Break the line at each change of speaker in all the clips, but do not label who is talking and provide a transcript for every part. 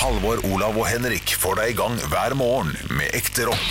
Halvor, Olav og Henrik får deg i gang hver morgen med ekte rock.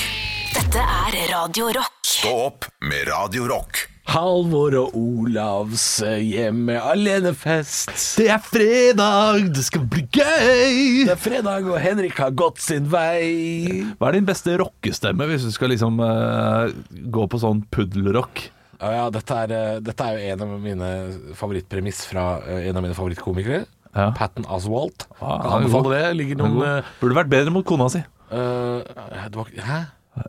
Dette er Radio Rock.
Stå opp med Radio Rock.
Halvor og Olavs eh, hjemme alenefest.
Det er fredag, det skal bli gøy!
Det er fredag, og Henrik har gått sin vei.
Hva er din beste rockestemme hvis du skal liksom eh, gå på sånn puddelrock?
Ja, ja, dette, er, eh, dette er jo en av mine favorittpremiss fra eh, en av mine favorittkomikere.
Ja.
Patton Oswalt.
Ah,
Kan anbefale det. Ligger noen
God. Burde vært bedre mot kona si.
eh, eh, det var, Hæ?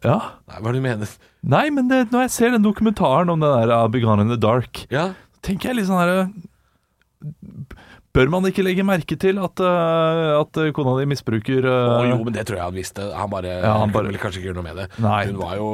Ja.
Nei, hva er det du mener?
Nei, men det, når jeg ser den dokumentaren om den der uh, Begun in the Dark,
Ja,
tenker jeg litt sånn her eh, Bør man ikke legge merke til at, eh, at kona di misbruker
Å,
eh,
jo, men det tror jeg han visste. Han bare,
Ja, han
han
bare-
kunne vel kanskje ikke gjøre noe med det.
Nei.
Hun var jo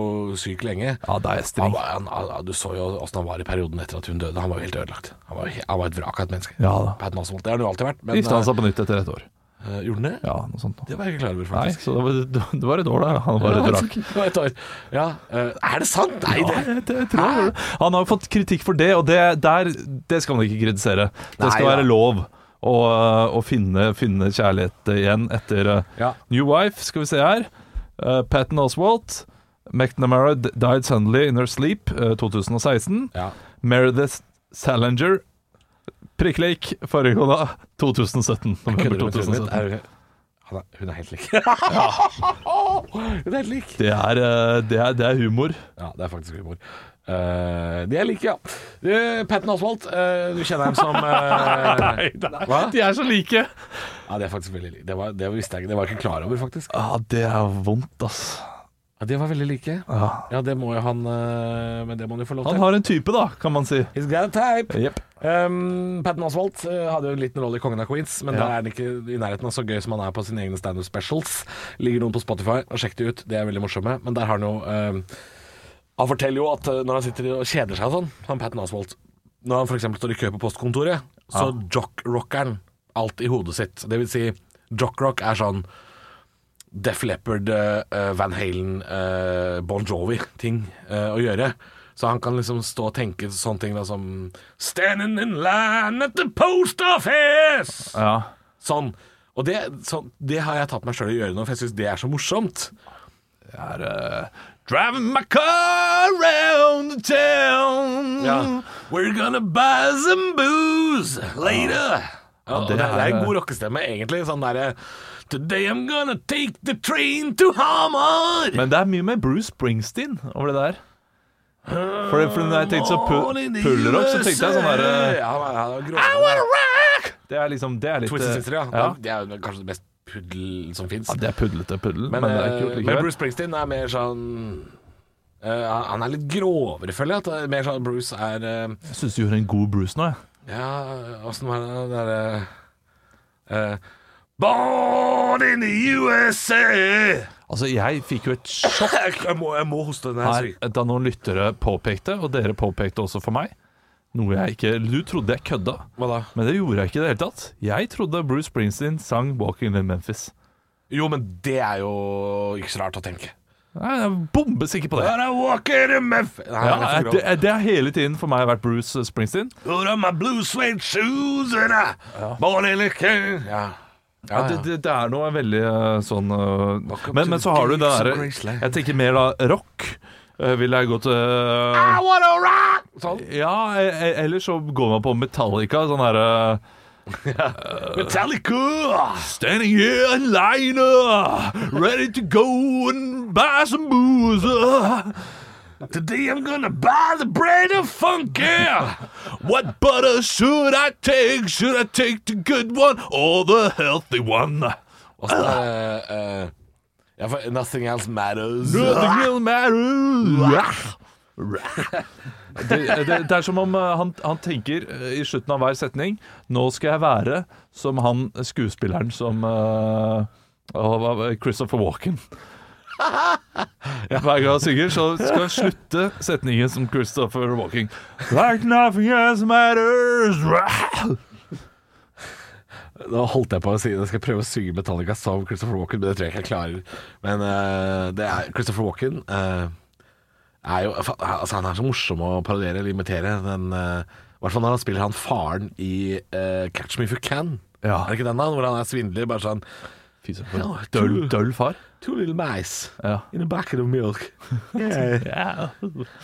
syk lenge.
Ja, da er jeg
Han
streng.
var, han, han, du så jo åssen han var i perioden etter at hun døde. Han var jo helt ødelagt. Han var, jo he- han var et vrak av et menneske.
Ja da.
Patton Oswalt, det har han jo alltid vært. Men,
Gifta han seg på nytt etter et år.
eh, eh, gjorde han det?
Ja, noe sånt.
Det var jeg ikke klar over,
Nei,
faktisk.
så det var, det var et år, da. Han var et vrak.
Det var et år. Ja, eh, er det sant? Nei,
Ja,
det
jeg, jeg tror det. Han har jo fått kritikk for det, og det, der, det skal man ikke kritisere. Det skal
Nei,
være
da.
lov å, å finne, finne kjærlighet igjen etter uh,
Ja.
New Wife, skal vi se her. Uh, Patton Oswalt. McNamara d- died suddenly in her sleep, uh, 2016.
ja.
Meredith Salinger Prikk-leik, forrige kone, 2017.
Kødder
November
du med trynet
2017.
mitt? Er, han er, hun er helt lik. hun er helt lik.
Det er, uh, det, er, det er humor.
Ja, det er faktisk humor. Eh, de er like, ja. Uh, Patton Oswald, eh, du kjenner ham som eh, Hva?
de er så like!
Ja, det er faktisk veldig like. Det, var, det visste jeg ikke. Det var jeg ikke klar over, faktisk.
Ja, det er vondt, ass.
Ja, De var veldig like.
Ja.
Ja, det må jo han eh, Men det må han jo få lov
Han
til.
har en type, da, kan man si.
He's got a type. Um, Patton Oswalt eh, hadde jo en liten rolle i Kongen av Queens, men
Ja.
der er han ikke i nærheten av så gøy som han er på sine egne standup specials. Ligger noen på Spotify, og sjekk det ut. Det er veldig morsomme. Men der har han jo um, Han forteller jo at eh, når han sitter og kjeder seg og sånn, han Patton Oswalt Når han f.eks. står i kø på postkontoret, så jock-rocker han alt i hodet sitt. Det vil si, jock-rock er sånn Def Leppard, eh, eh, Van Halen, eh, Bon Jovi-ting eh, å gjøre. Så han kan liksom stå og tenke sånne ting da som Standing in line at the post office!
Ja.
Sånn. Og det, sånn, det har jeg tatt meg sjøl i å gjøre nå, for jeg syns det er så morsomt.
Det er eh, Driving my car around the town.
Ja. We're gonna buy some booze later. Ja, og
det
det, det er
er-
en god rockestemme, egentlig. Sånn derre Today I'm gonna take the train to Hamar!
Men det er mye med Bruce Springsteen over det der. For, for når jeg
sånn
tenkte så pu-
Born in the
puller-up, så tenkte jeg sånn derre
USA. ja, ja, det var grov.
Det er liksom Det er litt
Twisted Sister, ja.
ja.
Det er jo kanskje det mest puddel som fins.
Ja, det er pudlete puddel, men,
men,
det er
eh,
kult
men
likevel.
Bruce Springsteen er mer sånn eh, han- Han er litt grovere, føler jeg. At det er mer sånn Bruce er eh,
Jeg syns du gjorde en god Bruce nå, jeg.
Ja, åssen var det derre Born in the USA!
Altså, jeg fikk jo et sjokk
Jeg må, jeg må hoste den her.
her da noen lyttere påpekte, og dere påpekte også for meg, noe jeg ikke Du trodde jeg kødda.
Hva da?
Men det gjorde jeg ikke i det hele tatt. Jeg trodde Bruce Springsteen sang 'Walking in Memphis'.
Jo, men det er jo ikke så rart å tenke.
Nei, jeg er bombesikker på det.
But I walk in a muff- Nei, det
Ja,
er for
det,
grovt.
det har hele tiden for meg vært Bruce Springsteen.
Put on my blue suede shoes and I Born in a king. Ja. Ja,
Det, det, det er noe veldig eh, sånn eh,
Walk up to
men, men
the
så har du det
gates of
derre
Graceland.
Jeg tenker mer da rock. Eh, Vil jeg gå til
I wanna rock! Sånn.
Ja, e- e- eller så går man på Metallica. Sånn herre
Metallica!
Standing here in line, uh, ready to go and buy some booze. uh.
Today I'm gonna buy the bread of funky!
What butter should I take? Should I take the good one or the healthy one?
Og så er det, eh, ja, for Nothing else matters.
Nothing will matter. Det, det, det er som om eh, han, han tenker eh, i slutten av hver setning Nå skal jeg være som han skuespilleren som eh, åh, hva var det? Christopher Walken. Hver gang han synger, så skal han slutte setningen som Christopher Walken. Like nothing else matters.
Nå holdt jeg på å si det. Jeg skal prøve å synge Metallica som Christopher Walken, men det tror jeg ikke jeg klarer. Men eh, det er Christopher Walken eh, er jo fa- Altså, han er så morsom å parodiere eller imitere. Den, eh, I hvert fall når han spiller han faren i eh, Catch Me If You Can.
Ja.
Er det ikke den, da? Hvor han er svindler. Bare sånn
Fy søren, for
Ja,
en døll,
kul.
døll far.
Two little mice
Ja.
in a bucket of milk. Yeah,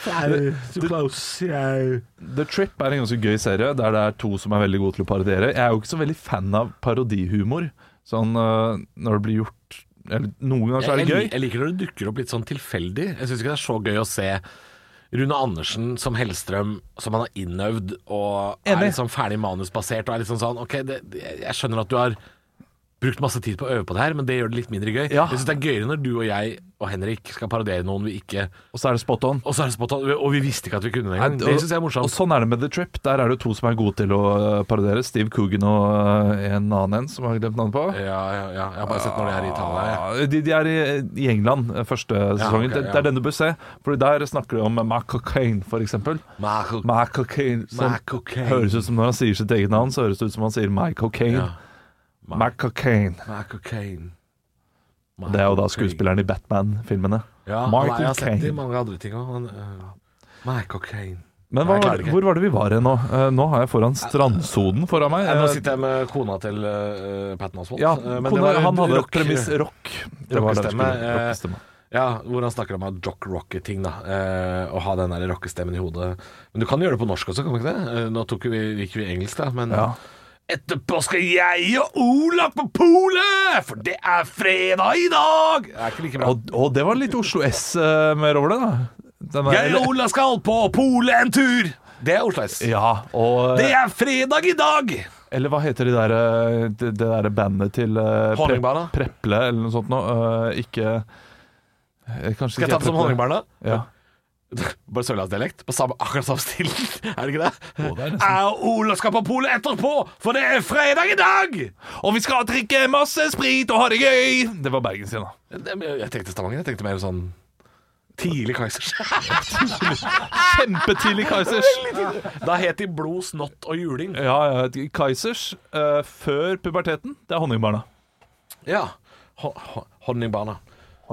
fly too close. Yeah.
The Trip er en ganske gøy serie der det er to som er veldig gode til å parodiere. Jeg er jo ikke så veldig fan av parodihumor. Sånn øh, når det blir gjort eller, Noen ganger så Altså, er
Jeg, jeg,
det gøy.
jeg liker når det dukker opp litt sånn tilfeldig. Jeg syns ikke det er så gøy å se Rune Andersen som Hellstrøm, som han har innøvd og er
Enig.
litt sånn ferdig manusbasert og er litt sånn sånn OK, det, det- jeg skjønner at du har brukt masse tid på å øve på det her, men det gjør det litt mindre gøy.
Ja.
Jeg syns det er gøyere når du og jeg og Henrik skal parodiere noen vi ikke
Og så er det spot on.
Og så er det spot on, og vi visste ikke at vi kunne det engang.
Nei,
Det syns jeg er
Og
morsomt.
sånn er det med The Trip. Der er det jo to som er gode til å øh, parodiere. Steve Coogan og øh, en annen en som jeg har glemt navnet på.
Ja, ja, ja. Jeg har bare sett når de er i Italia. jeg.
Ah, De, de er i, i England eh, første sesongen.
ok,
Det-
ja.
Det er den du bør se. For der snakker de om Mark Cocaine, for eksempel.
Michael-
Mark Cocaine, som
Mark Cocaine.
høres ut som når han sier sitt eget navn, så høres det ut som han sier Mike Cocaine.
Ja.
Mark Cocaine.
Michael Caine.
Det er jo da
Michael Caine.
skuespilleren i Batman-filmene.
Ja,
Michael
nei, jeg har sett
Caine.
det i mange andre ting òg. Uh, Michael Caine. Nei,
Men hva,
jeg
var-
klarer ikke.
hvor var det vi var hen nå? Eh, Nå har jeg foran strandsonen foran meg.
nå
Eh,
sitter jeg med kona til uh, Pat Oswald.
Ja,
Eh,
kona- han hadde
rock-
rock, premiss rock. Det var det vi
rockestemme,
skulle-
eh,
rockestemme.
Ja, hvor han snakker om at jock rocket-ting, da. eh, å ha den der rockestemmen i hodet. Men du kan gjøre det på norsk også, kan du ikke det? Eh, nå tok jo vi, gikk vi engelsk, da, men
Ja.
Etterpå skal jeg og Ola på polet, for det er fredag i dag! Det er ikke like bra.
Og, og det var litt Oslo S eh, mer over det, da. Den der-
Jeg og Ola skal på polet en tur! Det er Oslo S.
Ja, og eh,
Det er fredag i dag!
Eller hva heter de der, eh, det, det der bandet til eh, Pre-
Honningbarna.
Preple eller noe sånt nå? Eh, ikke eh, Kanskje
Skal jeg ta det som Honningbarna?
Ja.
Bare sørlandsdialekt. På samme, akkurat samme stilen. Er det ikke det?
det er nesten.
Jeg og Ola skal på polet etterpå, for det er fredag i dag!
Og vi skal drikke masse sprit og ha det gøy! Det var Bergen sin, da.
Det- men Jeg tenkte Stavanger. Jeg tenkte mer sånn tidlig Kaizers.
Kjempetidlig Kaizers.
da het de blod, snott og juling.
Ja, ja, de- Kaizers eh, før puberteten, det er Honningbarna.
Ja. Ho- ho- Honningbarna.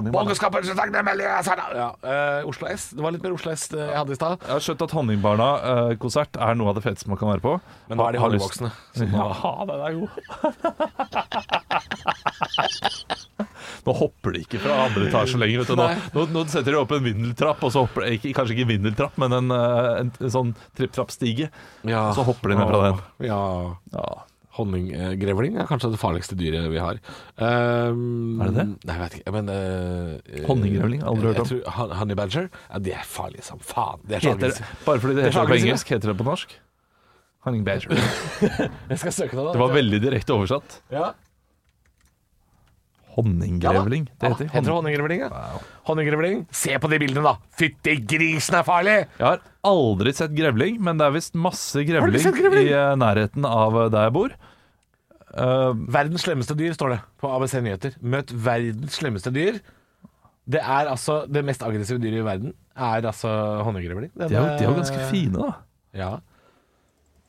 Borgerskapet ja. eh, Oslo S. Det var litt mer Oslo S eh, jeg hadde i stad.
Jeg har skjønt at Honningbarna-konsert er noe av det feteste man kan være på.
Men nå er de
Har- har lyst-
honningvoksne.
Ja, den er god. nå hopper de ikke fra andre etasje lenger. Vet du. Nå,
Nei.
nå, nå setter de opp en vindeltrapp, og så hopper de, ikke, kanskje ikke en vindeltrapp, men en, eh, en, en sånn tripp-trapp-stige.
Ja.
Og så hopper de ned fra den.
Ja.
Ja.
Honninggrevling er kanskje det farligste dyret vi har. Ehm,
Er det det?
Nei, jeg vet ikke. Men eh,
Honninggrevling, aldri hørt
jeg
om.
tror hon- Honey badger? Ja, det er farlig som faen. Det er så
Heter,
aggressivt.
bare fordi det
Det er
heter det på
aggressivt,
engelsk, heter det på norsk? Honning badger.
Jeg skal søke det, da.
Det var veldig direkte oversatt.
ja.
Honninggrevling. Det
Heter
heter
det
honning-
honninggrevling, ja. Honninggrevling. Se på de bildene, da! Fytti grisen er farlig!
Jeg har aldri sett grevling, men det er visst masse
du
grevling,
sett grevling?
i eh, nærheten av eh, der jeg bor. Eh,
Verdens slemmeste dyr, står det på ABC Nyheter. Møt verdens slemmeste dyr. Det er altså det mest aggressive dyret i verden. Er altså honninggrevling.
de, er jo, de er jo ganske fine, da.
Ja.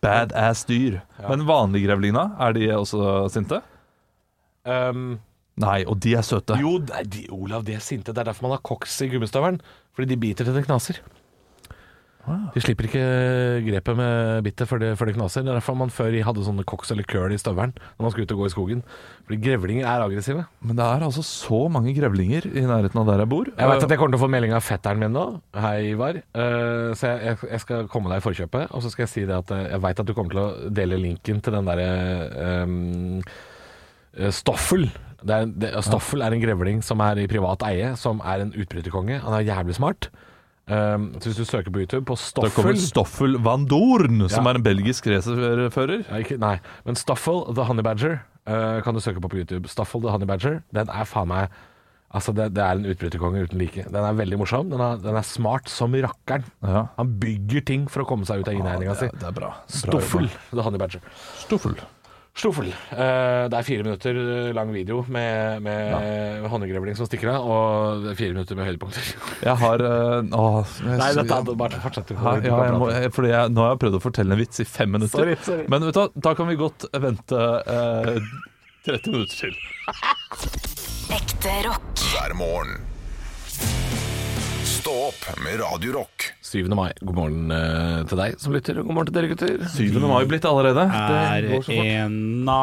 Badass dyr. Men vanlige grevlingene, er de også sinte?
Um,
Nei, og de er søte.
Jo, nei, de, Olav, de er sinte. Det er derfor man har koks i gummistøvelen. Fordi de biter til det knaser. De slipper ikke grepet med bittet før det, før det knaser. Det er derfor man før hadde sånne koks eller køl i støvelen når man skulle ut og gå i skogen. Fordi grevlinger er aggressive.
Men det er altså så mange grevlinger i nærheten av der jeg bor. Eh,
Jeg vet at jeg kommer til å få melding av fetteren min nå. Hei, Ivar. Eh, så jeg, jeg, jeg skal komme deg i forkjøpet, og så skal jeg si det at eh, jeg veit at du kommer til å dele linken til den derre eh, Stoffel. Det er, det, Stoffel er en grevling som er i privat eie, som er en utbryterkonge. Han er jævlig smart. Um, så hvis du søker på YouTube på
Da kommer
Stoffel
Stoffel van Dorn, som
Ja.
er en belgisk racerfører.
ja, ikke, Nei, men Stoffel the Honey Badger eh, kan du søke på på YouTube. Stoffel the Honey Badger, den er faen meg Altså, det, det er en utbryterkonge uten like. Den er veldig morsom. Den er, den er smart som rakkeren.
Ja.
Han bygger ting for å komme seg ut av innegninga si.
det, er, det er bra.
Stoffel the Honey Badger.
Stoffel.
Stoffel. Eh, det er fire minutter eh, lang video med, med honninggrevling som stikker av, og det er fire minutter med høydepunkter.
Jeg har eh, åh, jeg-
Nei, dette er bare fortsett.
ja, ja, jeg må, jeg, fordi jeg, Nå har jeg prøvd å fortelle en vits i fem minutter.
Sorry, sorry.
Men vet du, hva, da kan vi godt vente eh, 30 minutter til.
Ekte rock.
hver morgen. Stå opp med Radio Rock.
7. mai. God morgen eh, til deg som lytter, og god morgen til dere gutter.
7. mai blitt allerede.
Er
Det går så fort.
en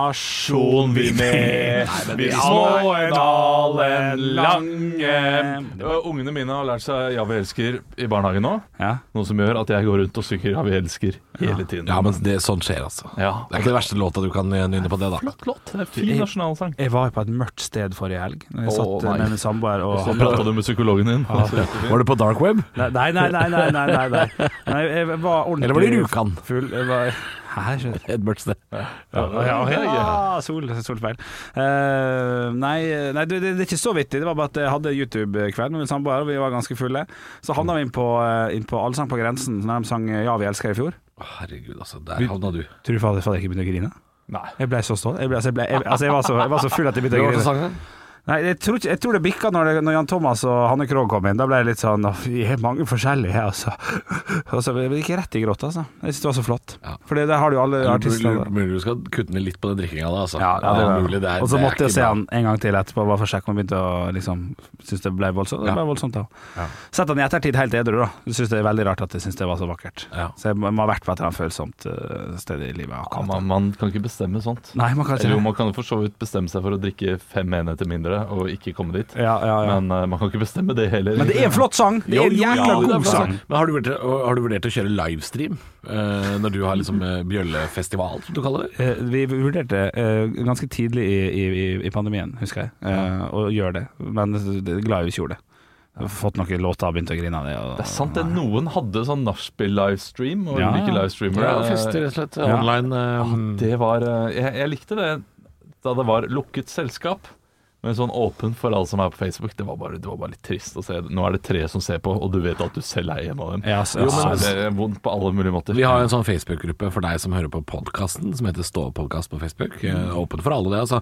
nasjon vi med, vi små
Småen,
en
Dalen,
alen
Lange
lange
Og Ungene mine har lært seg 'Ja, vi elsker' i barnehagen nå.
Ja.
Noe som gjør at jeg går rundt og synger 'Ja, vi elsker' hele tiden.
Ja, men det, sånn skjer, altså.
Ja.
Det er ikke det verste låta du kan eh, nynne på det, da.
Flott låt. Det er Fin nasjonalsang.
Jeg var jo på et mørkt sted forrige helg. Når Jeg
Å,
satt eh,
nei.
med min samboer og
Så prata du med psykologen din.
Var du på dark web?
Nei, nei, nei. nei, nei, nei, nei, nei. nei jeg var ordentlig
Eller var det Rjukan?
altså. Full. Jeg var, Hæ, jeg skjønner.
Edvard Sted.
Ja, ja, sol, solfeil. Eh, nei, nei det, det det er ikke så vittig. Det var bare at jeg hadde YouTube-kveld med min samboer, og vi var ganske fulle. Så havna vi inn på, eh, inn på Allsang på grensen, når de sang eh, 'Ja, vi elsker' i fjor.
Herregud, altså. Der havna du.
Tror du fader, fader jeg ikke begynte å grine?
Nei.
Jeg ble så stolt. Jeg, ble, altså, jeg, ble, jeg, altså, jeg, var, så, jeg var så full at jeg begynte å grine. Nei, jeg tror, ikke, jeg tror det bikka når, det, når Jan Thomas og Hanne Krogh kom inn. Da ble jeg litt sånn «Åh, Vi er mange forskjellige her, altså. Og så jeg gikk rett i gråt, altså. Jeg syns det var så flott.
Ja.
For det har du jo alle artistene.
Mulig mulig du skal kutte ned litt på den drikkinga da, altså.
Ja, ja, det var-
mulig. Det er-
og
det
så
er
måtte jeg
ikke
se
bra.
han en gang til etterpå, bare for å sjekke om han begynte å liksom Syns det ble voldsomt. Det
Ja.
ble voldsomt da. Sett han i ettertid helt edru, da. Jeg Syns det er veldig rart at jeg syns det var så vakkert.
Ja.
Så jeg må må ha vært på et eller annet følsomt eh, sted i livet.
Ja,
akkurat da.
man, man kan ikke bestemme sånt.
Nei, man kan
Eller jo,
ikke
man kan for så vidt bestemme seg for å drikke fem enheter mindre og ikke komme dit.
ja, ja, ja. Men,
Men eh, man kan ikke bestemme det heller.
det er en flott sang! Det
Jo,
er en
jo,
jækla
ja, det er
god
bra.
sang.
Men har du vurdert, har du vurdert å kjøre livestream eh, når du har liksom eh, bjøllefestival, som du kaller det?
Eh, Vi vurderte eh, ganske tidlig i, i, i- i pandemien, husker jeg, eh, å gjøre det. Men det er glad jeg ikke gjorde det. Jeg har Fått noen låter og begynt å grine av det. Og,
Det er sant det. Noen hadde sånn nachspiel-livestream og
Ja,
ulike
ja.
livestreamere.
rett og slett.
Ja.
Eh, Online.
Det var eh, jeg, jeg likte det da det var lukket selskap. Men sånn åpen for alle som er på Facebook, det var bare, det var bare litt trist å se. Nå er det tre som ser på, og du vet at du selv er en av dem.
Ja, altså, så,
Jo,
ja,
men
så-
det er vondt på alle mulige måter.
Vi har en sånn Facebook-gruppe for deg som hører på podkasten, som heter Ståpodkast på Facebook. Eh, Åpen for alle, det, altså.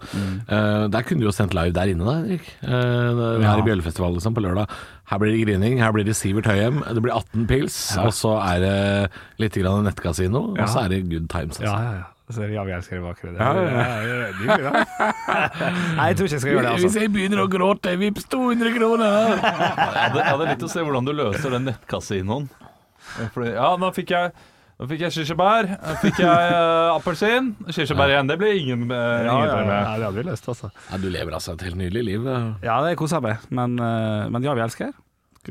Eh, der kunne du jo sendt live der inne, da, Henrik. Uh, her
Ja.
i Bjøllefestivalen liksom, på lørdag. Her blir det grining, her blir det Sivert Høyem, det blir 18 pils, og så er det litt grann nettkasino, og så er det good times.
ja,
Altså.
ja, ja. Så ja, vi elsker det vakre. Det, det er nydelig, da. Nei, jeg tror ikke jeg skal gjøre det, altså.
jeg begynner å gråte, vips 200 kroner!
Jeg hadde, jeg hadde litt å se hvordan du løser den nettkasinoen. Fordi, ja, nå fikk jeg nå fikk jeg kirsebær, nå fikk jeg eh, appelsin. Kirsebær igjen, det blir ingen, uh,
Ja,
ingen
ja, ja.
problem.
Nei, det hadde vi lyst, altså.
Ja, du lever altså et helt nydelig liv.
Ja, det koser jeg meg. Men, eh, men ja, vi elsker.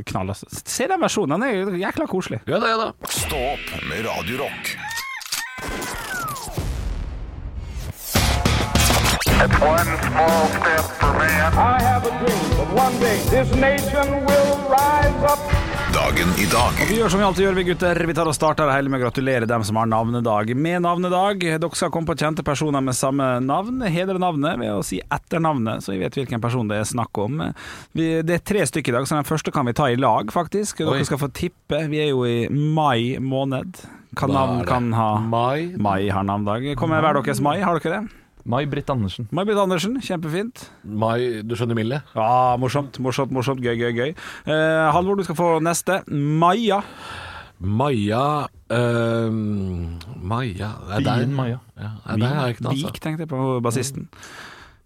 Knall, altså. Se den versjonen, den er jo jækla koselig.
Ja da, ja da.
Stå opp med Radio Rock.
One small step for man. I have a dream that one day this nation will rise up.
Dagen i dag.
Vi gjør som vi alltid gjør, vi gutter. Vi tar og starter det hele med å gratulere dem som har navnedag med navnedag. Dere skal komme på kjente personer med samme navn. Hedre navnet ved å si etternavnet, så vi vet hvilken person det er snakk om. Vi, det er tre stykker i dag, så den første kan vi ta i lag, faktisk. Dere
Oi.
skal få tippe. Vi er jo i mai måned.
Da
Hva
er
navn
det
kan ha
Mai.
Mai har navnedag. Kommer hver deres mai, har dere det?
May-Britt Andersen.
May-Britt Andersen, kjempefint.
Mai, du skjønner Mille?
Ja, morsomt, morsomt, morsomt. Gøy, gøy, gøy. Eh, Halvor, du skal få neste. Maja.
Maja øhm, Maja Det er der.
Bien Maja.
Ja, nei, der har jeg ikke noe,
Vik,
altså.
tenkte jeg på bassisten.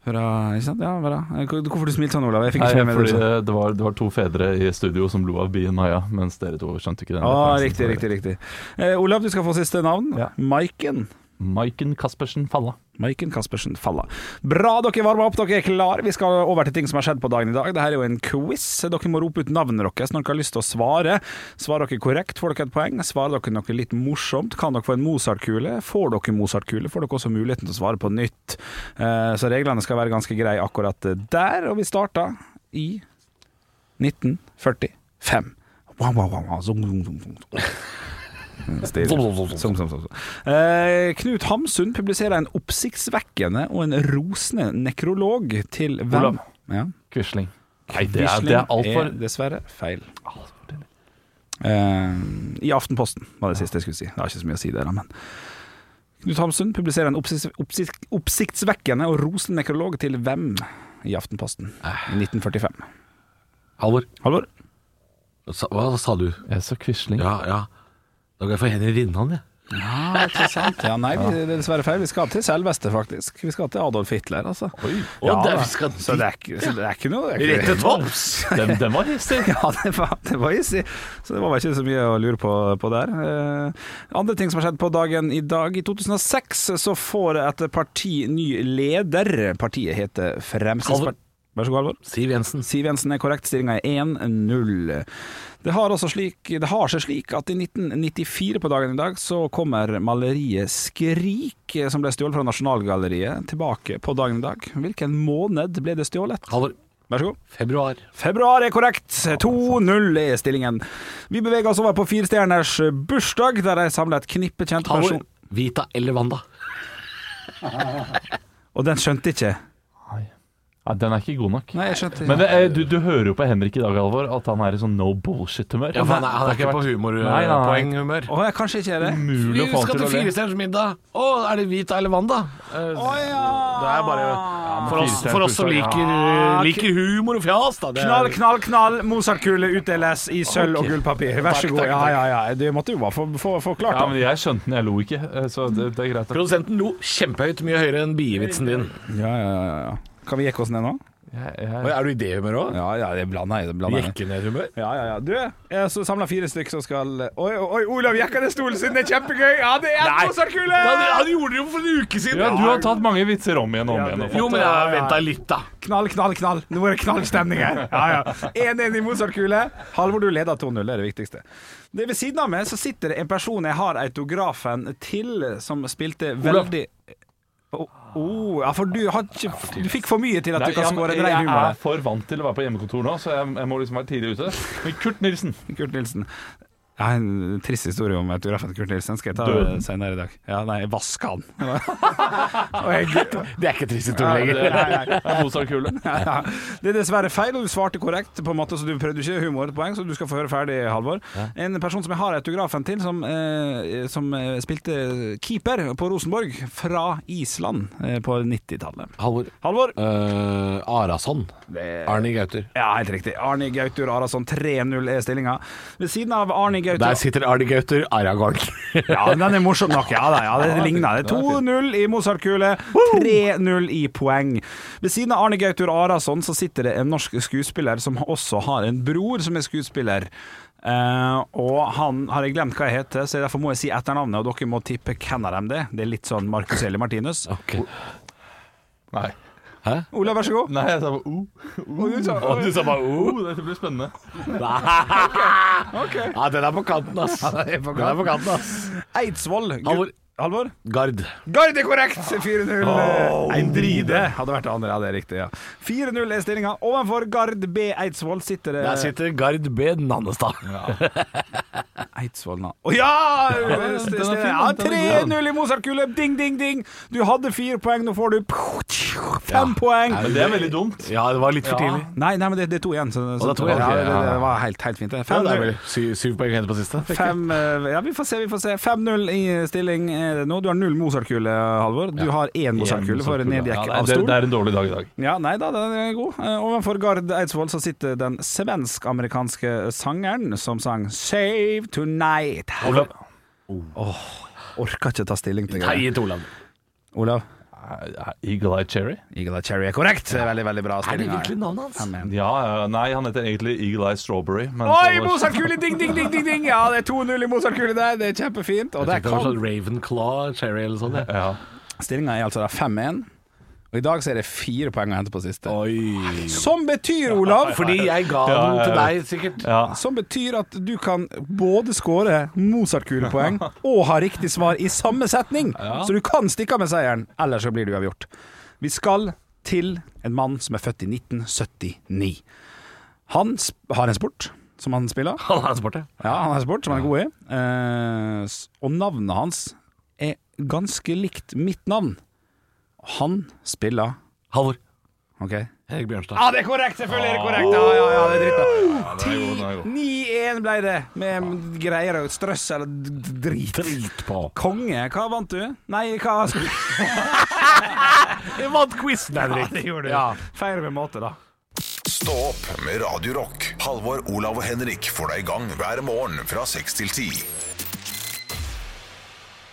Høra, ikke sant? Ja, bra. Hvorfor du smilte sånn, Olav? Jeg fikk
Nei,
ikke med meg
fordi
det.
det, det, var, det var to fedre i studio som lo av bien Maja, mens dere to skjønte ikke den.
Å,
referansen.
riktig, riktig. riktig eh, Olav, du skal få siste navn.
Ja.
Maiken.
Maiken Caspersen Falla.
Maiken Caspersen Falla. Bra dere varmer opp, dere er klare. Vi skal over til ting som har skjedd på dagen i dag. Dette er jo en quiz. Dere må rope ut navnet deres når dere har lyst til å svare. Svarer dere korrekt, får dere et poeng. Svarer dere noe litt morsomt, kan dere få en Mozart-kule. Får dere Mozart-kule, får dere også muligheten til å svare på nytt. Eh, Så reglene skal være ganske greie akkurat der. Og vi starta i 1945. Wow, wow, wow, wow. Zoom, zoom, zoom, zoom. Stilig. Som, som, som, som. Eh, Knut Hamsun publiserer en oppsiktsvekkende og en rosende nekrolog til hvem?
Olav.
Ja.
Quisling. Nei, det er,
Quisling
det er altfor
er dessverre feil. Eh, I Aftenposten var det siste jeg skulle si. Det har ikke så mye å si der, da, men Knut Hamsun publiserer en oppsikt, oppsikt, oppsiktsvekkende og rosende nekrolog til hvem i Aftenposten
Eh.
i 1945?
Halvor,
Halvor?
sa, hva sa du?
Jeg sa Quisling.
Ja, ja. Da går jeg for Henry Rinnan, jeg.
Ja, ikke sant. Ja, nei, vi, det er dessverre feil. Vi skal til selveste, faktisk. Vi skal til Adolf Hitler, altså.
Oi.
Ja,
der
da.
vi skal
så det er, ikke- så det er ikke noe det er ikke-
topps! Den, den var hissig.
Ja, det var, det var hissig. Så det var vel ikke så mye å lure på, på der. Eh, andre ting som har skjedd på dagen i dag. I 2006 så får et parti ny leder. Partiet heter
Halvor.
Fremskrittspartiet. Vær så god, Halvor.
Siv Jensen.
Siv Jensen er korrekt, stillinga er 1-0. Det har, også slik, det har seg slik at i 1994 på dagen i dag så kommer maleriet 'Skrik', eh, som ble stjålet fra Nasjonalgalleriet, tilbake på dagen i dag. Hvilken måned ble det stjålet?
Halvor.
Vær så god.
Februar.
Februar er korrekt. 2-0 er stillingen. Vi beveger oss over på firestjerners bursdag, der de samler et knippe kjente
Halvor.
personer.
Vita eller Wanda?
Og den skjønte ikke.
Ja, den er ikke god nok.
Nei, jeg skjønte
Men det, er- du, du hører jo på Henrik i dag, Alvor, at han er i sånn no bullshit-humør.
Ja, for han er, han er
Det
ikke
har
på
vært Nei, nei, nei.
humorpoenghumør.
Å, jeg kanskje ikke er det.
Umulig
Vi
å få han
skal til
til å le.
Firestjerners middag. Å, er det Vita eller Wanda? Eh, Det er bare For oss, for oss som liker, eh, liker humor og fjas, da. Det
Knall,
er,
knall, knall. Mozartkule utdeles i sølv og gullpapir. Vær så god. Ja, ja, ja. Du måtte jo bare få få- forklart
Ja, men
det.
jeg skjønte den, jeg lo ikke, eh, så det, det er greit. Jeg,
Produsenten lo kjempehøyt, mye høyere enn bievitsen din.
Ja, ja, ja, ja. Kan vi jekke oss ned nå?
jeg,
Er du i det humøret òg?
Ja, ja, det blander jeg. det blander jeg.
Jekke ned humør?
Ja, ja, ja. Du, jeg så samler fire stykk som skal Oi, oi, Olav jekker ned stolen sin, det er kjempegøy! Ja, det er en Mozartkule!
Han, han gjorde det jo for en uke siden!
ja, du har tatt mange vitser om igjen og om igjen. og
Jo,
fått-
men jeg har venta litt, da.
Knall, knall, knall. Nå er det knallstemning her. Ja, ja. 1-1 i Mozart-kule. Halvor, du leder 2-0, det er det viktigste. Det Ved siden av meg så sitter det en person jeg har autografen til, som spilte veldig Å, å, ja, for du, har ikke, du fikk for mye til at
Nei,
du kan score
jeg,
en rein
jeg er
humor.
for vant til å være på hjemmekontor nå, så jeg, jeg må liksom være tidlig ute. Men Kurt Nilsen
der. Kurt Nilsen. Jeg har en trist historie om autografen til Kurt Nilsen. Skal jeg ta
Døden.
det senere i dag? Ja, nei, jeg vaska han. Og jeg gutt.
Det er ikke trist
Ja,
historie
det-
lenger.
nei, nei.
er Mozart-kule.
Ja, det er dessverre feil, og du svarte korrekt, på en måte, så du prøvde ikke humorpoeng, så du skal få høre ferdig, Halvor. En person som jeg har autografen til, som, eh, som eh, spilte keeper på Rosenborg, fra Island eh, på 90-tallet.
Halvor.
Halvor?
eh, Arason. Arnie Gauter.
Ja, helt riktig. Arne Gautur Arason, 3-0 er stillinga. Ved siden av Arne
Der
Gautur
sitter Arnie Gauter, Aragorn.
Ja, men den er morsom nok. Ja, da, ja det ligner. Det er 2-0 i Mozart-kule, 3-0 i poeng. Ved siden av Arne Gautur Arason så sitter det en norsk skuespiller som også har en bror som er skuespiller. Eh, og han har jeg glemt hva jeg heter, så derfor må jeg si etternavnet, og dere må tippe hvem av dem det er. Det er litt sånn Marcus Eli Martinus.
Nei.
Olav, vær så god.
Nei, jeg sa bare O.
Og du sa bare oh.
O, dette blir spennende.
Ja, den er på kanten, ass. Den er på kanten, ass.
Eidsvoll. Gu-
Halvor.
Halvor?
Gard.
Gard er korrekt! 4-0. en dride. Hadde vært det andre, ja, det er riktig. ja 4-0 er stillinga. Ovenfor Gard B. Eidsvoll sitter det
Der sitter Gard B. Nannestad.
Eidsvoll nå. Å ja! St-
den er fin,
ja
den er
3-0 i Mozart-kule. Ding, ding, ding. Du hadde fire poeng, nå får du fem poeng.
Men det er veldig dumt.
Ja, det var litt for tidlig.
Nei, nei, men det, det er to igjen. Så, så,
det er to igjen.
ja, det,
Ja, ja, ja.
det var helt, helt fint. det.
Ja, det er
5-0.
vel syv, syv poeng hente på siste. fikk jeg.
Fem, eh, ja, vi får se. vi får se 5-0 i stilling er det nå. Du har null Mozart-kule, Halvor. Du har én Mozart-kule for
Ja,
nedjekk
nei,
av
det,
stol.
det er en dårlig dag i dag.
Ja, nei da, den er god. Eh, Ovenfor Gard Eidsvoll så sitter den svensk-amerikanske sangeren som sang 'Save Tonight'. Halvor.
Olav.
Orka ikke ta stilling til
Nei,
det.
gitt Olav.
Olav.
Eagle Eye Cherry?
Eagle Eye Cherry er korrekt. Det er Veldig, veldig bra stilling.
navnet hans?
Ja, ja, nei, han heter egentlig Eagle Eye Strawberry. Men
Oi,
så-
Mozart-kule! Ding, ding, ding, ding, ding! Ja, det er 2-0 i Mozart-kule der. Det er kjempefint. Og
Det
der
er kanskje
kan
sånn Ravenclaw, Cherry eller sånn. Ja.
Ja.
Stillinga er altså da 5-1. Og i dag så er det fire poeng å hente på siste.
Oi.
Som betyr, Olav
Fordi jeg ga
Ja,
den til
ja,
deg, sikkert.
ja.
Som betyr at du kan både skåre Mozart-kulepoeng og ha riktig svar i samme setning. Så du kan stikke av med seieren, eller så blir det uavgjort. Vi skal til en mann som er født i 1979. Han sp- har en sport som han spiller.
Han er smart, ja.
Ja, han har en sport som han er god i. Eh, s- og navnet hans er ganske likt mitt navn. Han spiller
Halvor.
OK?
Erik Bjørnstad.
Ja, det er korrekt! Selvfølgelig er det korrekt! Ja, ja, ja, det er dritbra.
den er god, den er god.
9-1 ble det, med greier og strøss eller d- d- drit.
Drit på.
Konge, hva vant du? Nei, hva
Jeg vant quizen, Henrik.
Ja, feir med måte, da.
Stå opp med Radio Rock. Halvor, Olav og Henrik får deg i gang hver morgen fra 6 til 10.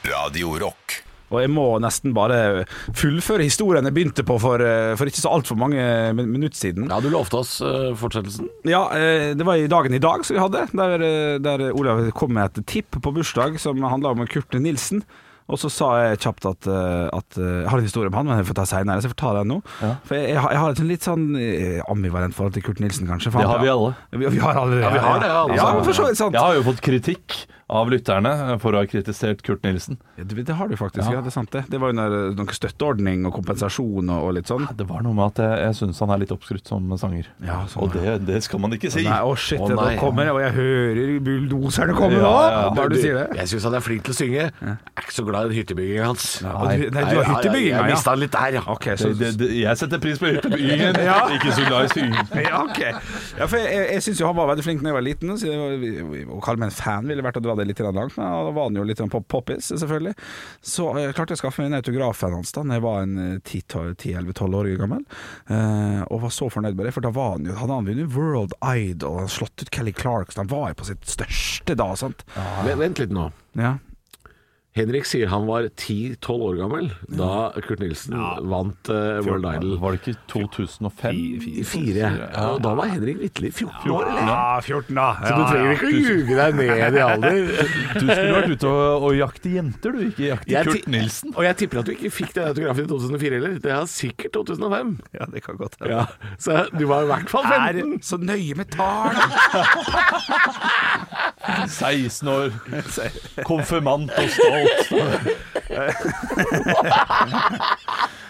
Radio Rock.
Og jeg må nesten bare fullføre historien jeg begynte på for, eh, for ikke så altfor mange min- minutter siden.
Ja, du lovte oss eh, fortsettelsen.
Ja, eh, det var i dagen i dag som vi hadde, der, eh, der Olav kom med et tipp på bursdag som handla om Kurt Nilsen. Og så sa jeg kjapt at, eh, at eh, jeg har en historie om han, men jeg får ta seinere. Så jeg får ta den nå. For jeg, jeg, har- jeg har et litt sånn eh, ambivalent forhold til Kurt Nilsen, kanskje. for
Det
han-
har vi alle.
Vi, vi har alle det.
Ja, vi har det, alle
Ja,
sammen.
men for så vidt sant.
Jeg har jo fått kritikk av lytterne for å ha kritisert Kurt Nilsen.
Ja, Det, det har du faktisk, ja. Det er sant det. Det var under noen støtteordning og kompensasjon og, og litt sånn.
Det var noe med at jeg, jeg syns han er litt oppskrytt som sanger.
Ja, sånn
og det, det skal man ikke si.
Nei, å shit,
Å,
det
nei.
nå kommer det, og jeg hører bulldoserne komme nå!
Ja, ja,
Bare du sier det.
Jeg syns han er flink til å synge. Jeg er ikke så glad i den hyttebygginga hans.
Nei, du, nei, du har hyttebygginga,
Jeg
ja.
mista han litt der, ja.
Ok, så,
Det, det, det, jeg setter pris på hyttebyggingen,
Ja.
ikke så glad i synging.
ja, ok. ja, for jeg, jeg, jeg syns jo han var veldig flink da jeg var liten. Så jeg, var- å kalle meg en fan ville vært å dra det litt grann langt, men da var han jo litt grann pop poppis, selvfølgelig. Så eh, jeg klarte jeg å skaffe meg en autograf av hans da Når jeg var en eh, 10 12 10-11-12 år gammel, eh, og var så fornøyd med det. For da var han jo, hadde han vunnet World Idol, han slått ut Kelly Clarks, han var jo på sitt største da, sant.
Men vent litt nå.
Ja.
Henrik sier han var 10-12 år gammel da Kurt Nilsen vant eh, World Idol.
Var det ikke 2005?
I fire. Og da var Henrik vitterlig 14 år. eller?
Ja, 14 da.
Så du trenger ikke å ljuge deg ned i alder.
Du skulle vært ute og, og jakte jenter, du, ikke jakte
Jeg
Kurt
ti-
Nilsen.
Og jeg tipper at du ikke fikk den autografen i 2004 heller. Det er sikkert 2005.
Ja, det kan godt hende.
Ja. Så du var i hvert fall 15.
Er så nøye med tall!
16 år, konfirmant og stolt.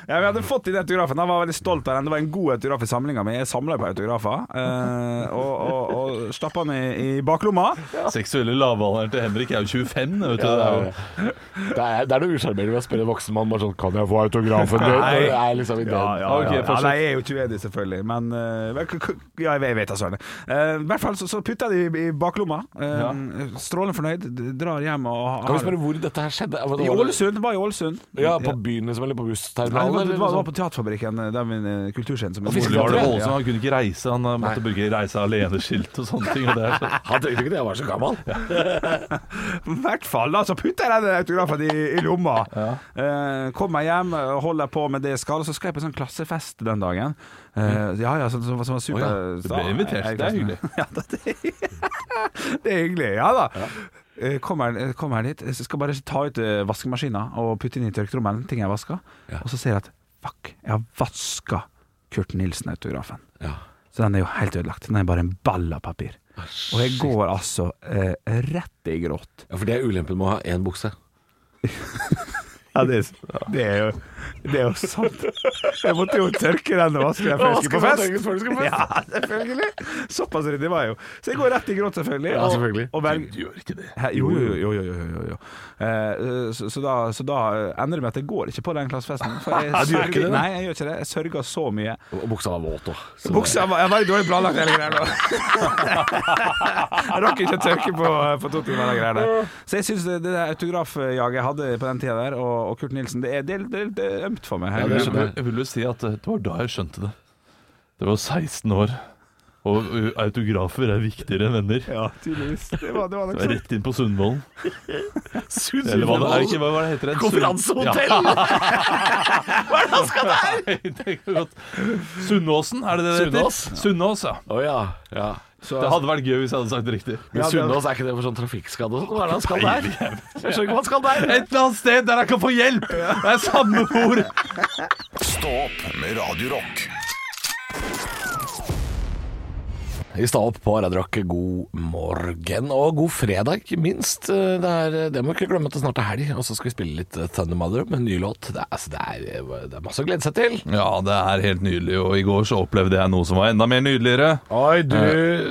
Ja, vi hadde fått inn autografen. Han var veldig stolt av den. Det var en god autograf i samlinga mi. Jeg samla på autografer. eh, og og, og stappa den i, i baklomma.
Seksuelle lavalderen til Henrik er jo 25, vet du. det er jo.
Det er, det er noe usjarmerende ved å spørre en voksen mann bare sånn Kan jeg få autografen din? Når det er liksom i den.
Ok,
ja,
fortsett.
nei, jeg er jo ikke uenig, selvfølgelig. Men eh, vel, k- k- ja, jeg vet- jeg vet da søren. Eh, I hvert fall så, så putta jeg det i, i baklomma. Eh, Strålende fornøyd. D- Drar hjem og har
Kan vi spørre hvor dette her skjedde? Var det-
I Ålesund. Var i Ålesund.
Ja, På byen liksom, eller på
Nei, det,
bussterminalen?
var, det,
eller
var, det
noe
var på Teaterfabrikken, eh, der min eh, kulturscene som
Og
Var det
Ja.
Ålesund? Han kunne ikke reise, han eh, måtte bruke reise alene-skilt og sånne ting. Og det er så.
sånt? Han tenkte ikke det, han var så gammel.
I hvert fall da, så putter jeg den autografen i, i lomma. Eh, kommer hjem, holder på med det jeg skal, og så skal jeg på sånn klassefest den dagen. Eh, ja, ja, så, så, så, var
Mm.
super...
Å ja, du ble
da-
invitert,
jeg- jeg-
det er hyggelig.
ja, da, det, det er hyggelig, ja da. Eh, Kommer, eh, kommer jeg dit, så skal jeg bare ta ut eh, vaskemaskinen og putte inn i tørkerommet ting jeg vasker, og så ser jeg at, fuck, jeg har vasket Kurt Nilsen-autografen. Så den er jo helt ødelagt. Den er bare en ball av papir.
Ah,
Og jeg går altså eh, rett i gråt.
Ja, For det er ulempen med å ha én bukse.
Ja, det, er, det, er jo, det er jo sant. Jeg måtte jo tørke den og vaske den før jeg skulle på fest. Ja, selvfølgelig. Såpass ryddig var jeg jo. Så jeg går rett i gråt, selvfølgelig.
Ja,
og-
selvfølgelig.
Og velg,
Du gjør ikke det.
Hæ, jo, jo, jo. jo, jo, jo, jo. Eh, så, så, da, så da ender det med at jeg går ikke på den klassefesten. For jeg
Du gjør ikke det, da?
Nei, jeg gjør ikke det. Jeg sørger så mye.
Og buksa var våt òg.
Buksa var jeg var veldig dårlig planlagt, hele greia. nå. Jeg rakk ikke å tørke på, eh, på to timer. hele greia der. Så jeg syns det, det der autografjaget jeg hadde på den tida der, og, og Kurt Nilsen, det er, det, er- det, er- det er ømt for meg.
Ja,
hele
det
greia.
skjønner
Jeg vil jo si at eh, det var da jeg skjønte det. Det var 16 år, og eh, autografer er viktigere enn venner.
ja, tydeligvis. Det var, det
Det
var nok
var
sånn.
Rett inn på Sundvolden. Eller hva det er, ikke, hva var det heter det?
Konferansehotell!
Nei, det er godt. Sunnåsen, er det det det heter?
Sunnaas?
Sunnås, ja.
Å ja. ja. Så,
Det hadde vært gøy hvis jeg hadde sagt det riktig.
men Sunnaas, er ikke det for sånn trafikkskadde? og sånn? Hva er det han skal der? Jeg skjønner ikke hva han skal der.
Et eller annet sted der jeg kan få hjelp! Det er samme hvor.
Stå opp med Radio Rock.
Vi står opp på Radio Rock. God morgen, og god fredag, ikke minst. Det, er, det må vi ikke glemme at det snart er helg, og så skal vi spille litt Thunder Mother med en ny låt. Det er, altså, det, er, det er masse å glede seg til.
Ja, det er helt nydelig, og i går så opplevde jeg noe som var enda mer nydeligere.
Oi, du Eh,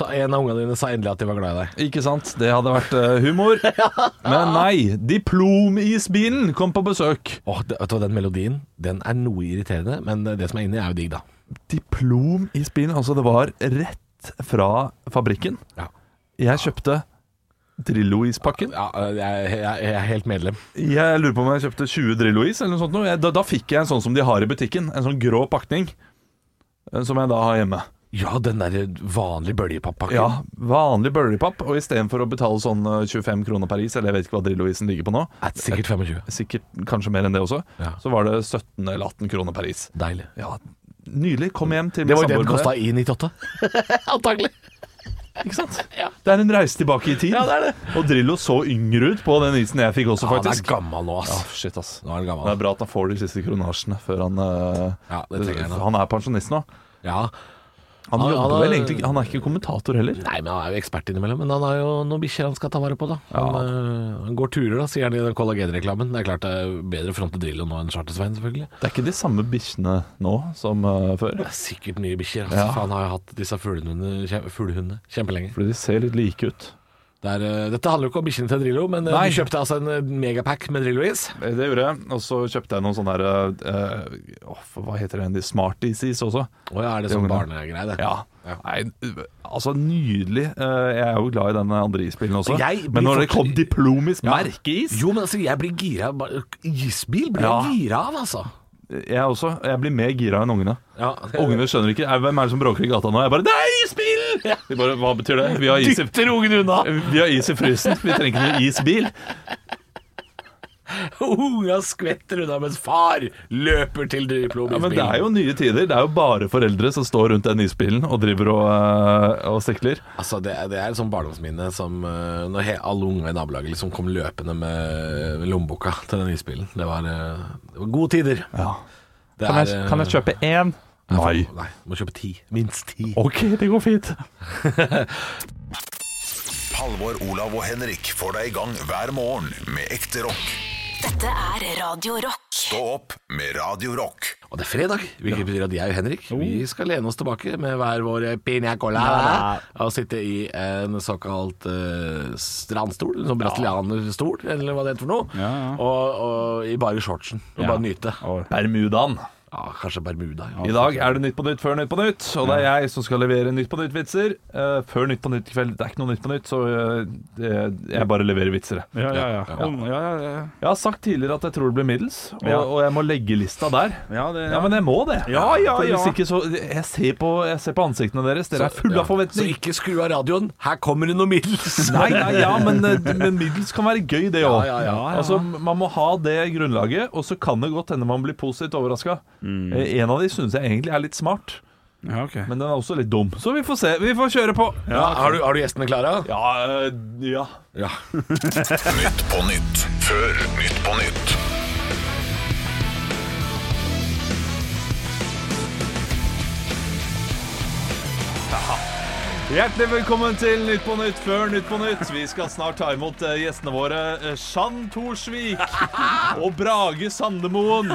sa, En av ungene dine sa endelig at de var glad i deg.
Ikke sant? Det hadde vært eh, humor. Men nei, diplomisbilen kom på besøk.
Åh, det, vet du hva, Den melodien den er noe irriterende, men det som er inni, er jo digg, da.
Diplomisbilen, altså det var rett fra fabrikken.
Ja.
Jeg kjøpte Drillo-ispakken.
Ja, eh, jeg, jeg, jeg er helt medlem.
Jeg lurer på om jeg kjøpte 20 Drillo-is eller noe sånt. nå. Jeg, da, da fikk jeg en sånn som de har i butikken. En sånn grå pakning eh, som jeg da har hjemme.
Ja, den derre vanlige bøljepapppakken.
Ja, vanlig bøljepapp. Og istedenfor å betale sånn eh, 25 kroner per is, eller jeg vet ikke hva Drillo-isen ligger på nå, Eh,
Er Sikkert 25.
sikkert kanskje mer enn det også,
Ja.
så var det 17 eller 18 kroner per is.
Deilig.
Ja, nydelig. Kom hjem til
Det var jo det
samboer
den
med
kosta i 98. Antagelig.
det, Ikke sant? Det er en reise tilbake i tid.
Ja, det er det.
Og Drillo så yngre ut på den isen jeg fikk også,
Ja, han er
faktisk.
gammel nå, ass.
Ja, shit, ass.
Nå er han
Det er
gammel.
bra at han får de siste kronasjene før han eh,
Ja, det trenger han.
Han er pensjonist nå.
Ja.
Han,
Han-
jobber
han er-
vel egentlig Han er ikke kommentator heller.
Nei, men han er jo ekspert innimellom. Men han har jo noen bikkjer han skal ta vare på, da. Han, øh, han går turer, da, sier han i den kollagenreklamen. Det er klart det er bedre front til Drillo nå enn Chartersveien, selvfølgelig.
Det er ikke de samme bikkjene nå som eh, før.
Det er sikkert nye bikkjer. Altså.
Ja.
Faen, har jeg hatt disse fuglehundene kje- fuglehundene kjempelenge.
Fordi de ser litt like ut.
Det er, øh, dette handler jo ikke om bikkjene til Drillo, men øh,
Nei.
vi kjøpte altså en øh, megapack med Drillo-is.
Eh, Det gjorde jeg. Og så kjøpte jeg noen sånne der eh, åh, hva heter det? De Smarties-is også.
Å ja, er det
Det er
sånn
ungene.
barnegreie, det?
Ja. Nei, altså nydelig. Eh, Jeg er jo glad i den andre isbilen også.
Jeg blir
Men når det
fortsatt-
kom diplomisk
Ja.
merkeis
Jo, men altså, jeg blir gira. bare- Isbil blir
Ja.
jeg gira av, altså.
Jeg også. Jeg blir mer gira enn ungene.
Ja.
Ungene skjønner ikke. «Au, Hvem er det som bråker i gata nå? Jeg bare Det er isbil! De bare Hva betyr det? Vi har is i,
Dytter ungene unna!
vi har is i frysen. Vi trenger ikke noen isbil.
Unga skvetter unna mens far løper til
Ja,
diplomisbilen.
men det er jo nye tider. Det er jo bare foreldre som står rundt den isbilen og driver og, eh, og sikler.
Altså, det, er- det er et sånt barndomsminne som eh, når he, alle unge i nabolaget liksom kom løpende med, med lommeboka til den isbilen. Det var, eh, det var gode tider.
Ja.
Det
Kan
er,
jeg,
eh,
kan jeg kjøpe én? Nei.
Nei, du må kjøpe ti. Minst ti.
OK, det går fint.
Halvor, Olav og Henrik får deg i gang hver morgen med ekte rock.
Dette er Radio Rock.
Stå opp med Radio Rock.
Og det er fredag, hvilket betyr at jeg og Henrik
Oh.
Vi skal lene oss tilbake med hver vår piña colada og sitte i en såkalt eh, strandstol, en sånn brasilianerstol, eller hva det heter for noe,
Ja, ja.
Og, og i bare shortsen. Og bare nyte.
Og-
Bermudaen.
Ja, kanskje Bermuda.
I dag er det Nytt på Nytt før Nytt på Nytt, og det er jeg som skal levere Nytt på Nytt-vitser. Eh, før Nytt på Nytt i kveld. Det er ikke noe Nytt på Nytt, så eh, det, jeg bare leverer vitser. jeg.
Ja, ja, ja. Om- ja, ja, ja.
Jeg har sagt tidligere at jeg tror det blir middels, og,
Ja.
og jeg må legge lista der.
Ja, det-
men jeg må det.
Ja, ja,
For hvis
ja.
ikke så Jeg ser på, jeg ser på ansiktene deres. Dere er fulle av
Så
forventning.
ikke skru av radioen, her kommer det noe middels!
Nei, nei, ja, men, eh, men middels kan være gøy, det òg.
Ja, ja, ja.
Altså, man må ha det grunnlaget, og så kan det godt hende man blir positivt overraska.
Mm.
En av de syns jeg egentlig er litt smart,
Ja, ok.
men den er også litt dum. Så vi får se. Vi får kjøre på.
Ja, har, du, har du gjestene klare?
Ja, eh, ja.
Ja.
Nytt på nytt før Nytt på nytt.
Hjertelig velkommen til Nytt på Nytt før Nytt på Nytt. Vi skal snart ta imot eh, gjestene våre eh, Jeanne Thorsvik og Brage Sandemoen.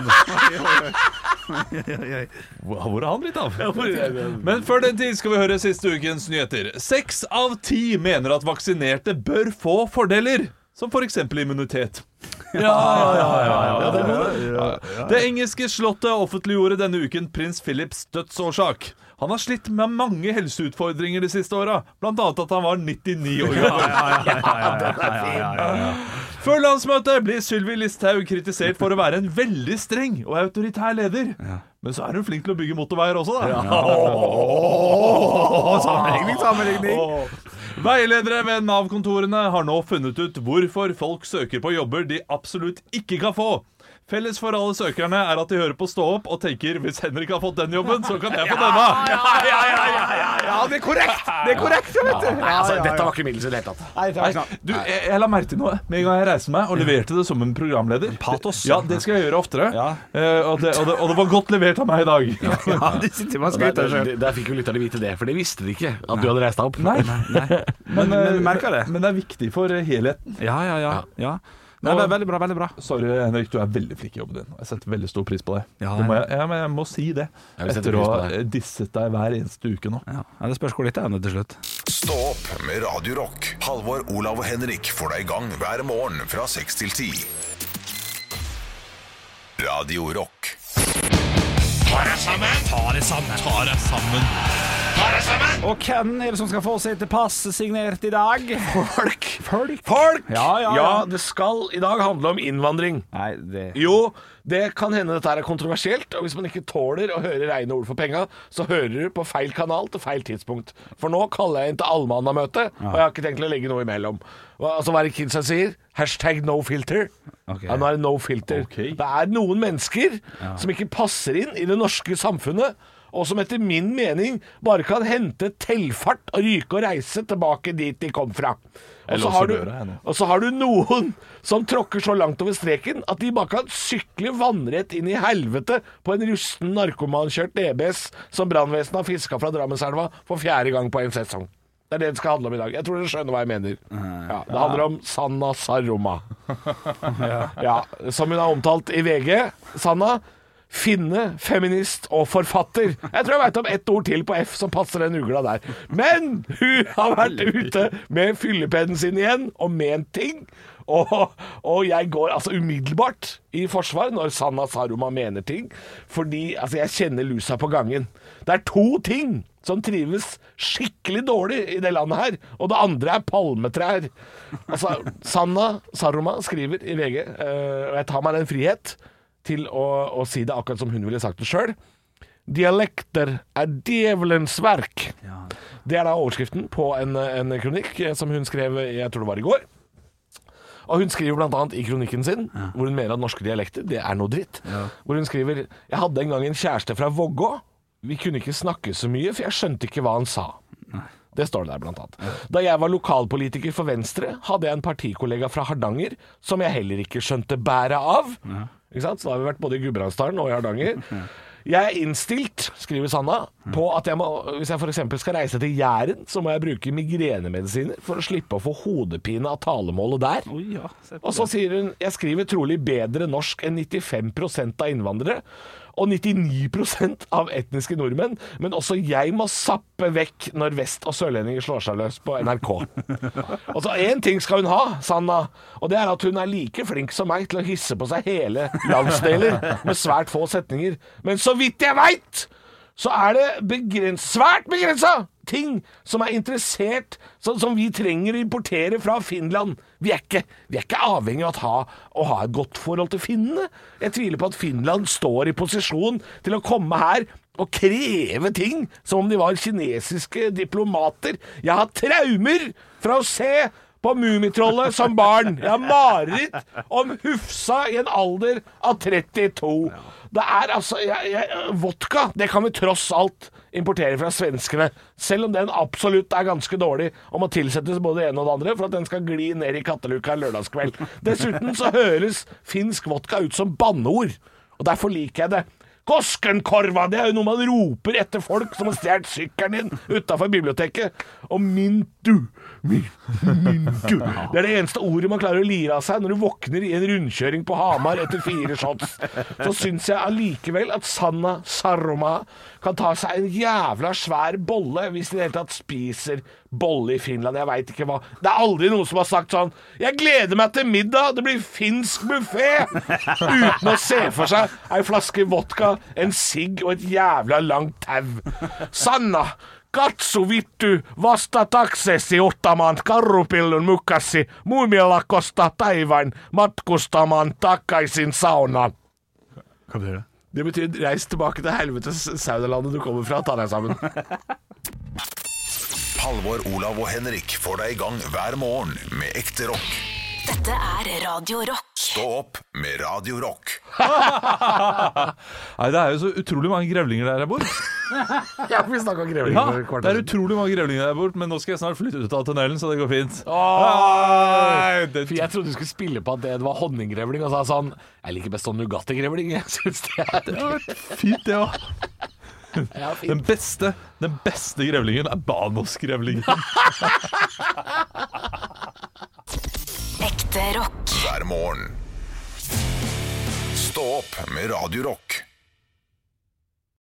Hvor hvor er han blitt av? Men før den tid skal vi høre siste ukens nyheter. Seks av ti mener at vaksinerte bør få fordeler, som f.eks. immunitet. Det engelske slottet offentliggjorde denne uken prins Philips dødsårsak. Han har slitt med mange helseutfordringer de siste åra, bl.a. at han var 99 år gammel. Før landsmøtet blir Sylvi Listhaug kritisert for å være en veldig streng og autoritær leder. Men så er hun flink til å bygge motorveier også, da. Åh,
Sammenligning, sammenligning.
Åh. Veiledere ved Nav-kontorene har nå funnet ut hvorfor folk søker på jobber de absolutt ikke kan få. Felles for alle søkerne er at de hører på Stå opp og tenker hvis Henrik har fått den jobben, så kan jeg få denne.
det er korrekt! Det er korrekt, vet du!
Nei, altså, dette var ikke middels i det hele tatt.
Nei, det var
Nei, du, jeg, jeg la merke til noe med en gang jeg reiste meg og leverte det som en programleder.
patos.
Ja, Det skal jeg gjøre oftere.
Ja.
Eh, og, det, og, det, og det var godt levert av meg i dag.
Ja, de sitter bare og
Der,
skryter sjøl.
der, der fikk jo lytterne vite det, for det visste de ikke. At du hadde reist deg opp.
Nei,
Men,
eh,
men merker det.
men det er viktig for helheten.
Ja, ja, ja. ja. Nei, ve- veldig bra, veldig bra.
Sorry, Henrik, du er veldig flink i jobben din. Jeg setter veldig stor pris på det.
Ja,
det må
nei.
jeg, ja, men jeg må si det.
Jeg vil sette
Etter å
pris
ha
på det.
disset deg hver eneste uke nå.
Ja. Ja, det spørs hvor litt det er nå til slutt.
Stå opp med Radio Rock. Halvor, Olav og Henrik får deg i gang hver morgen fra 6 til 10. Radio Rock.
Ta deg sammen. Ta deg sammen. Ta deg sammen. Ta
Og hvem er det som skal få sitt pass signert i dag?
Folk!
Folk.
Folk!
Ja, ja, ja.
det skal i dag handle om innvandring.
Nei, det
Jo, det kan hende dette her er kontroversielt, og hvis man ikke tåler å høre reine ord for penga, så hører du på feil kanal til feil tidspunkt. For nå kaller jeg inn til allmannamøte, og jeg har ikke tenkt å legge noe imellom. Og, Altså hva er det kidsa sier? Hashtag no filter.
Ok.
Ja, nå er det no filter.
Ok.
Det er noen mennesker som ikke passer inn i det norske samfunnet, og som etter min mening bare kan hente telfart og ryke og reise tilbake dit de kom fra. Og
Jeg
så
låser
har du,
døra, jeg nå.
og så har du noen som tråkker så langt over streken at de bare kan sykle vannrett inn i helvete på en rusten narkomankjørt EBS som brannvesenet har fiska fra Drammenselva for fjerde gang på en sesong. Det er det det skal handle om i dag. Jeg tror dere skjønner hva jeg mener. Ja, det handler om Sanna Saroma. Ja, som hun er omtalt i VG. Sanna. Finne, feminist og forfatter. Jeg tror jeg veit om ett ord til på F som passer den ugla der. Men hun har vært ute med fyllepennen sin igjen, og ment ting. Og, og jeg går altså umiddelbart i forsvar når Sanna Saruma mener ting, fordi altså, jeg kjenner lusa på gangen. Det er to ting som trives skikkelig dårlig i det landet her, og det andre er palmetrær. Altså, Sanna Saruma skriver i VG, eh, og jeg tar meg den frihet til å, å si det akkurat som hun ville sagt det sjøl. Dialekter er djevelens verk. Det er da overskriften på en, en kronikk eh, som hun skrev eh, jeg tror det var i går. Og hun skriver blant annet i kronikken sin, hvor hun mener at norske dialekter, det er noe dritt. Hvor hun skriver Jeg hadde en gang en kjæreste fra Vågå. Vi kunne ikke snakke så mye, for jeg skjønte ikke hva han sa. Det står det der, blant annet. Da jeg var lokalpolitiker for Venstre, hadde jeg en partikollega fra Hardanger som jeg heller ikke skjønte bæret av. Ikke sant? Så da har vi vært både i Gudbrandsdalen og i Hardanger. Jeg er innstilt, skriver Sanna, på at jeg må, hvis jeg f.eks. skal reise til Jæren, så må jeg bruke migrenemedisiner for å slippe å få hodepine av talemålet der.
Oi, ja, se på
Og så sier hun Jeg skriver trolig bedre norsk enn 95 av innvandrere og 99 av etniske nordmenn, men også jeg må sappe vekk når vest- og sørlendinger slår seg løs på NRK. Og så én Altså, ting skal hun ha, Sanna, og det er at hun er like flink som meg til å hisse på seg hele landsdeler med svært få setninger. Men så vidt jeg veit, så er det begrens, svært begrensa ting som er interessert som, som vi trenger å importere fra Finland. Vi er ikke, vi er ikke avhengig av å ha, å ha et godt forhold til finnene. Jeg tviler på at Finland står i posisjon til å komme her og kreve ting som om de var kinesiske diplomater. Jeg har traumer fra å se på Mummitrollet som barn. Jeg har mareritt om Hufsa i en alder av 32. Det er altså jeg, jeg, Vodka, det kan vi tross alt importere fra svenskene. Selv om den absolutt er ganske dårlig og må tilsettes både det ene og det andre for at den skal gli ned i katteluka en lørdagskveld. Dessuten så høres finsk vodka ut som banneord, og derfor liker jeg det. Koskenkorva, det er jo noe man roper etter folk som har stjålet sykkelen din utafor biblioteket. Og mintu, mintu, mintu. Det er det eneste ordet man klarer å lire av seg når du våkner i en rundkjøring på Hamar etter fire shots. Så syns jeg allikevel at Sanna Saroma kan ta seg en jævla svær bolle, hvis de i det hele tatt spiser bolle i Finland. Jeg veit ikke hva. Det er aldri noen som har sagt sånn 'Jeg gleder meg til middag, det blir finsk buffé', uten å se for seg ei flaske vodka, en sigg og et jævla langt tau. Sanna, katso vittu vasta taksesi ottamaan karrupillun mukassi muumielakosta taivain matkustamaan takaisin saunaan.
Hva betyr det?
Det betyr reis tilbake til helvetes saunalandet du kommer fra, ta deg sammen.
Halvor, Olav og Henrik får deg i gang hver morgen med ekte rock.
Dette er Radio Rock.
Stå opp med Radio Rock.
Nei, det er jo så utrolig mange grevlinger der jeg bor.
Ja, vi snakka om grevlinger
Ja,
for et kvarter
det er
siden.
utrolig mange grevlinger der jeg bor, men nå skal jeg snart flytte ut av tunnelen, så det går fint. Nei, det,
For jeg trodde du skulle spille på at det var honninggrevling, og så er sånn Jeg liker best sånn Nugatti-grevling, jeg syns det er
det har vært fint, det òg.
ja, fint.
Den beste, den beste grevlingen er Banos-grevlingen.
Ekte rock.
hver morgen. Stå opp med Radio Rock.